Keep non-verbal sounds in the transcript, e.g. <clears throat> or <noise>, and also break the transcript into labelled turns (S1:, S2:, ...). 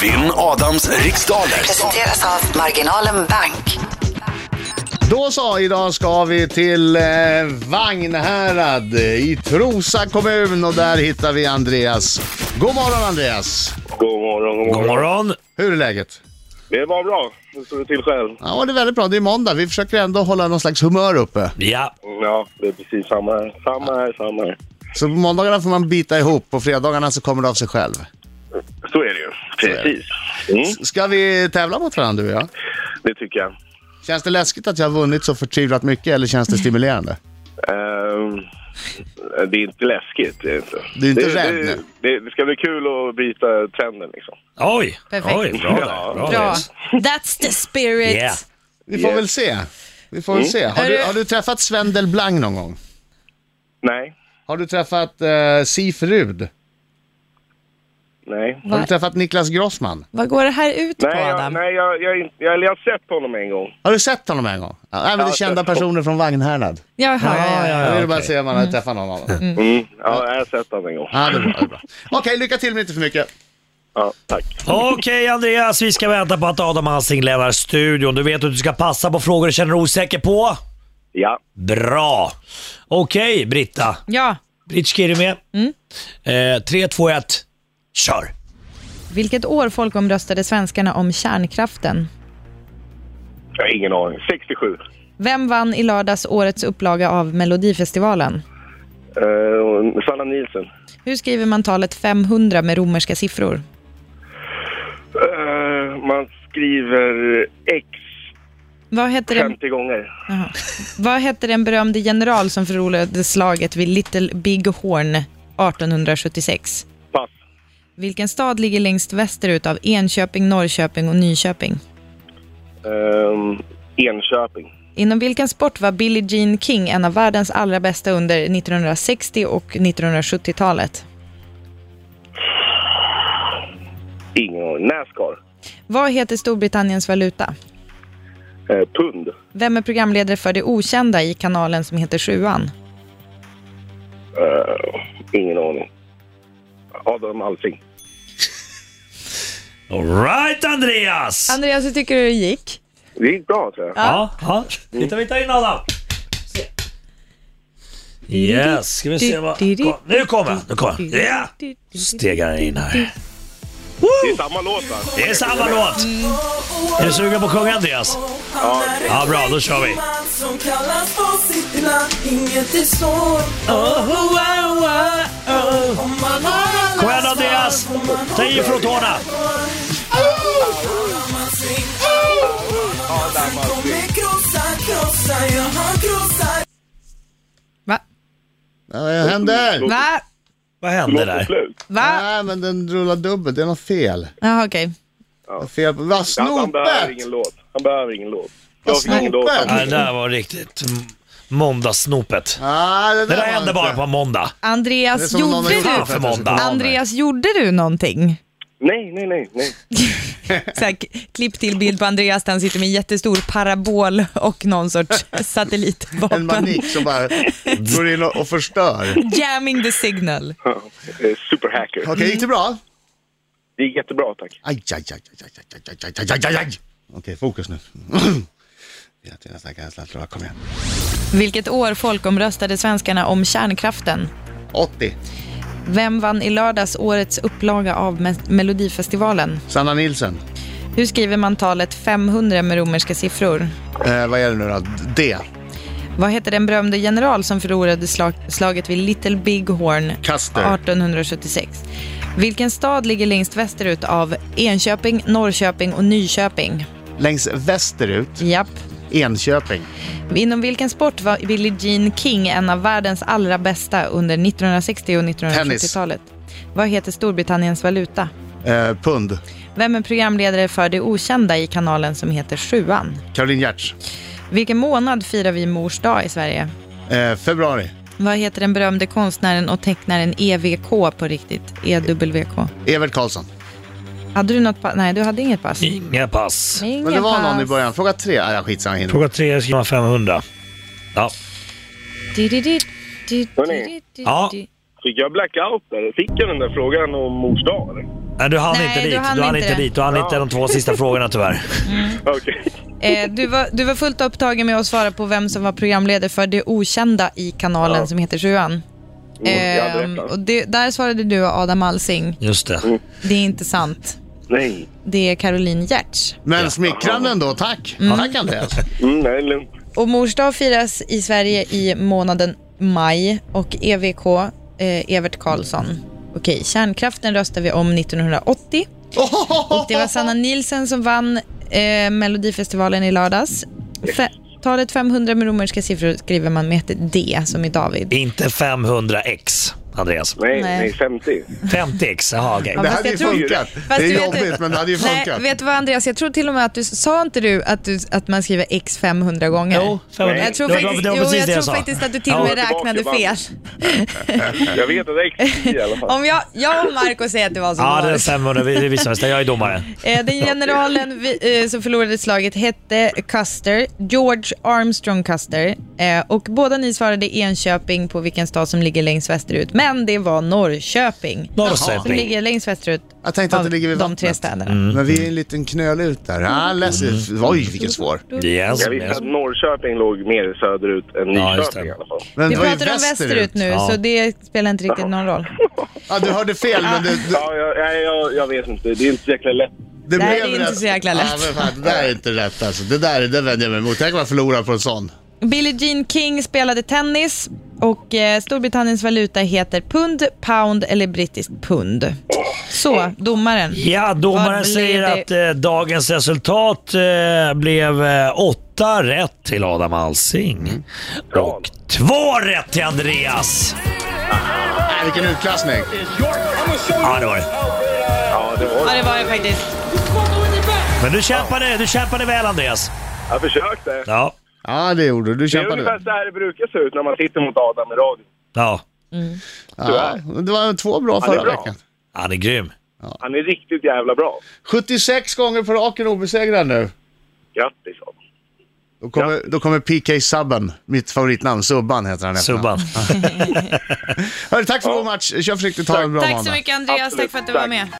S1: Vinn Adams riksdaler.
S2: Presenteras av Marginalen Bank.
S3: Då så, idag ska vi till eh, Vagnhärad i Trosa kommun och där hittar vi Andreas. God morgon Andreas!
S4: God morgon, god morgon.
S5: God morgon.
S3: Hur är läget?
S4: Det var bra. Nu står det till själv.
S3: Ja, det är väldigt bra. Det är måndag. Vi försöker ändå hålla någon slags humör uppe.
S5: Ja,
S4: Ja, det är precis samma här. Samma här, samma här.
S3: Så på måndagarna får man bita ihop, på fredagarna så kommer det av sig själv.
S4: Så är det ju. Precis. Mm,
S3: Ska vi tävla mot varandra du och jag?
S4: det tycker jag.
S3: Känns det läskigt att jag har vunnit så förtvivlat mycket eller känns det stimulerande?
S4: Ehm, det är inte läskigt. Det är inte.
S3: Du är inte
S4: det,
S3: rädd
S4: det,
S3: nu?
S4: det, det ska bli kul att byta trenden liksom.
S5: oj.
S6: Perfekt.
S5: Oj, bra där.
S4: Ja.
S5: Bra.
S6: Bra.
S5: där.
S6: That's the spirit.
S5: Yeah.
S3: Vi får väl se. Vi får väl se. Har du, har du träffat Sven Del Blanc någon gång?
S4: Nej,
S3: Har du träffat eh, Sif Rud?
S4: nej.
S3: Har du
S6: Vad,
S3: träffat Niklas Grossman?
S6: vad går det här ut på
S4: Nej, jag,
S6: Adam?
S4: nej jag, jag, är inte- jag, eller jag har sett honom en gång.
S3: Har du sett honom en gång? Ja, även
S4: Ja,
S3: det är kända
S4: jag har sett
S3: personer från Vagnhärnad.
S6: Jag hör,
S5: Ja, ja,
S3: Jag
S5: ja,
S3: vill bara
S5: okej.
S3: se om man har träffat någon av dem.
S4: Mm. Ja, jag har sett honom en gång.
S3: Ja, det är bra. Det är bra. Okej, lycka till men inte för mycket.
S4: Ja, tack.
S5: Okej Andreas, vi ska vänta på att Adam Alsing lämnar studion. Du vet att du ska passa på frågor du känner dig osäker på.
S4: Ja,
S5: Bra! Okej Britta.
S6: ja.
S5: Britska är du med?
S6: Mm.
S5: Eh, 3, 2, 1. Kör!
S6: Vilket år folkomröstade svenskarna om kärnkraften?
S4: jag har ingen aning. 67.
S6: Vem vann i lördags årets upplaga av Melodifestivalen?
S4: Uh, Sanna Nielsen.
S6: Hur skriver man talet 500 med romerska siffror?
S4: Eh, man skriver X
S6: Vad hette den,
S4: 50 gånger.
S6: Jaha. vad hette den berömde general som förlorade slaget vid Little Big Horn 1876?
S4: Pass.
S6: Vilken stad ligger längst västerut av Enköping, Norrköping och Nyköping?
S4: Ehm, Enköping.
S6: Inom vilken sport var Billie Jean King en av världens allra bästa under 1960 och 1970-talet?
S4: Ingen aning. Nascar.
S6: Vad heter Storbritanniens valuta?
S4: Eh, pund.
S6: Vem är programledare för Det Okända i kanalen som heter Sjuan?
S4: Eh, ingen aning. Adam Alsing.
S5: Alright Andreas!
S6: Andreas, hur tycker du det gick?
S4: Det gick bra tror jag.
S5: ja, ja. Titta vi tar in Adam. Se. Yes, ska vi se vad... Kom, nu kommer han! Nu kommer han. Ja! Stegar han in här.
S4: Det är samma låt va?
S5: Det är samma låt! Är du sugen på att sjunga Andreas? Ja, bra, då kör vi.
S7: Som kallas på sitt namn, inget är svårt om man har alla
S5: Kom igen Andreas! Ta i från tårna!
S7: sin Adam kommer krossa, krossa, jag har krossat
S6: Va?
S3: Ja, Vad händer?
S6: Va?
S5: Vad hände
S4: Låt är
S5: där?
S4: slut.
S6: Va?
S3: Nej, men den rullar dubbelt. Det är något fel.
S6: Jaha, okej.
S3: Det är fel. på- Vad
S4: Han, han behöver
S3: snopet!
S4: ingen låt. Han behöver ingen låt. Jag fick ingen
S3: snopet!
S4: låt.
S5: Ja, det där var riktigt m- måndagssnopet.
S3: Ah, det
S5: Det
S3: där
S5: där
S3: var
S5: hände
S3: inte-
S5: bara på måndag.
S3: Det är
S6: Andreas,
S3: som om någon
S6: gjorde
S3: har gjort
S6: du...
S3: det för att jag ska
S5: Måndag.
S3: komma av mig.
S6: Andreas, gjorde du någonting?
S4: Nej, nej, nej. nej.
S6: Så här, k- klipp till bild på Andreas där han sitter med en jättestor parabol och
S3: <laughs>
S6: någon sorts
S3: En
S6: satellitvapen.
S3: manik som bara går in och, och förstör. Okej,
S6: Jamming the signal.
S4: Eh, Superhacker.
S3: gick det bra?
S4: Det gick jättebra tack.
S3: Aj, aj, aj, aj, aj, aj, aj, aj, aj, aj, aj, aj. Okej, fokus nu. <clears throat> Jag har nästan känsla att jag kom igen.
S6: Vilket år folkomröstade svenskarna om kärnkraften?
S3: 80.
S6: Vem vann i lördags årets upplaga av Me- Melodifestivalen?
S3: Sanna Nilsson.
S6: Hur skriver man talet 500 med romerska siffror?
S3: Eh, vad är det nu då? D.
S6: Vad heter den berömde general som förlorade slag slaget vid Little Big Horn
S3: Custer.
S6: 1876? Vilken stad ligger längst västerut av Enköping, Norrköping och Nyköping?
S3: Längs västerut,
S6: Japp.
S3: Enköping.
S6: Inom vilken sport var Billie Jean King en av världens allra bästa under 1960 och 1970-talet? Vad heter Storbritanniens valuta?
S3: Eh, pund.
S6: Vem är programledare för Det Okända i kanalen som heter Sjuan?
S3: Caroline Giertz.
S6: Vilken månad firar vi mors dag i Sverige?
S3: Eh, februari.
S6: Vad heter den berömde konstnären och tecknaren EVK på riktigt? EWK.
S3: Evert Karlsson.
S6: Hade du något pass? Nej, du hade inget pass.
S5: Inga pass.
S6: Ingen
S3: Men det var någon i
S6: pass.
S3: början. Fråga tre. Ah, ja, skitsamma, jag hinner.
S5: Fråga tre skriver man 500. Ja.
S6: Du, du, du, du, du,
S4: Hörni.
S6: du, du.
S5: Ja.
S4: Fick jag blackout där? Fick jag den där frågan om mors dag eller?
S5: Nej, du hann
S6: Nej,
S5: inte
S6: du
S5: dit. Du hann,
S6: hann inte
S5: inte
S6: det.
S5: dit. Du hann inte de två <laughs> sista frågorna tyvärr.
S4: Okej.
S6: Eh, du, var, du var fullt upptagen med att svara på vem som var programledare för Det Okända i kanalen som heter Sjuan.
S4: Mm, jag hade
S6: Ehm,
S4: rätt, va?
S6: och det, där svarade du Adam Alsing.
S5: Just det.
S6: Det är inte sant.
S4: Nej.
S6: Det är Caroline Giertz.
S3: Men smickrande ändå, tack. Tack Andreas.
S4: Mm, nej, lugnt.
S6: Och mors dag firas i Sverige i månaden maj och EVK, eh, Evert Karlsson. Okej, kärnkraften röstade vi om 1980. Och det var Sanna Nielsen som vann eh, Melodifestivalen i lördags. Fe- talet 500 med romerska siffror skriver man med ett D som i David.
S5: Inte 500x, Andreas.
S4: Nej,
S6: Nej.
S4: nej. 50.
S5: 50x, jaha okej.
S6: Ja,
S3: Det
S6: fast
S3: hade
S6: jag
S3: ju
S6: tror-
S3: funkat. Det
S6: fast
S3: är
S6: du vet-
S3: jobbigt men det hade ju
S6: Nej,
S3: funkat.
S6: vet du vad Andreas, jag tror till och med att du sa inte du att, du, att man skriver X 500 gånger.
S5: Jo, 500.
S6: Jag tror,
S5: Det var-
S6: faktiskt,
S5: det var
S6: jo,
S5: precis
S6: jag
S5: det jag
S6: tror
S5: sa.
S6: faktiskt att du till och
S5: Ja,
S6: med
S4: tillbaka
S6: räknade
S4: i
S6: fel.
S4: bandet. Jag vet att det är X10 i alla fall.
S6: Om jag, jag och Marco säger att det var så
S5: Ja,
S6: var
S5: det är
S6: det.
S5: 500. Vi, vi visar oss det. Jag är domare.
S6: Eh, Den generalen vi, eh, som förlorade slaget hette Custer, George Armstrong Custer. Eh, Och båda ni svarade Enköping på vilken stad som ligger längst västerut. Men det var Norrköping. Som
S5: Norrköping.
S6: ligger längst västerut
S3: Jag tänkte att
S6: av
S3: det ligger vid
S6: de tre
S3: vattnet. Mm.
S6: städerna.
S3: Men vi är en liten knöl ut där.
S6: Mm.
S3: Ah, läs- Oj, vilken svår.
S5: Yes,
S4: Jag visste
S5: yes.
S4: att Norrköping låg mer söderut än
S5: Ja, just
S4: Nyköping
S5: det.
S4: i alla fall.
S3: Men
S6: Vi
S3: det var ju
S6: pratar om västerut nu,
S5: Ja.
S6: så det spelar inte riktigt någon roll.
S3: Ja, du hörde fel, men det, det,
S4: Ja, jag, nej, jag, jag vet inte. Det är inte så jäkla lätt.
S3: det
S6: Nej,
S3: blev
S6: det är inte
S3: rätt.
S6: så jäkla lätt.
S3: Ja, men fan, det där är inte rätt alltså. Det där det vänder jag mig emot. Tänk om jag förlorar på en sån.
S6: Billie Jean King spelade tennis och eh, Storbritanniens valuta heter pund, pound eller brittiskt pund. Så, domaren.
S5: Ja,
S6: Vad
S5: domaren
S6: blev
S5: säger
S6: det?
S5: att eh, dagens resultat eh, blev eh, åtta rätt till Adam Alsing. Och två rätt till Andreas.
S3: Nej, Ah, vilken utklassning.
S5: Ja, det var det.
S4: Ja, det var
S6: Ja, det var det faktiskt.
S5: Men du kämpade, du kämpade väl Andreas.
S4: Jag försökte.
S5: Ja.
S3: Ja, det gjorde du. Du
S4: Det är
S3: kämpade.
S4: ungefär så här det brukar se ut när man sitter mot Adam i radio.
S5: ja.
S3: Ja, det var två bra
S4: det är
S3: förra
S4: bra.
S3: veckan.
S5: Han är grym.
S4: Han är riktigt jävla bra.
S3: 76 gånger på raken obesegrad nu.
S4: Grattis Adam.
S3: Då kommer, då kommer PK Subban, mitt favoritnamn. Subban heter han. efter.
S5: Subban.
S3: Hörru, tack för god match. Kör försiktigt. Ta en bra
S6: Tack
S3: måndag.
S6: så mycket Andreas,
S4: Absolut,
S6: tack för att du var
S4: tack.
S6: med.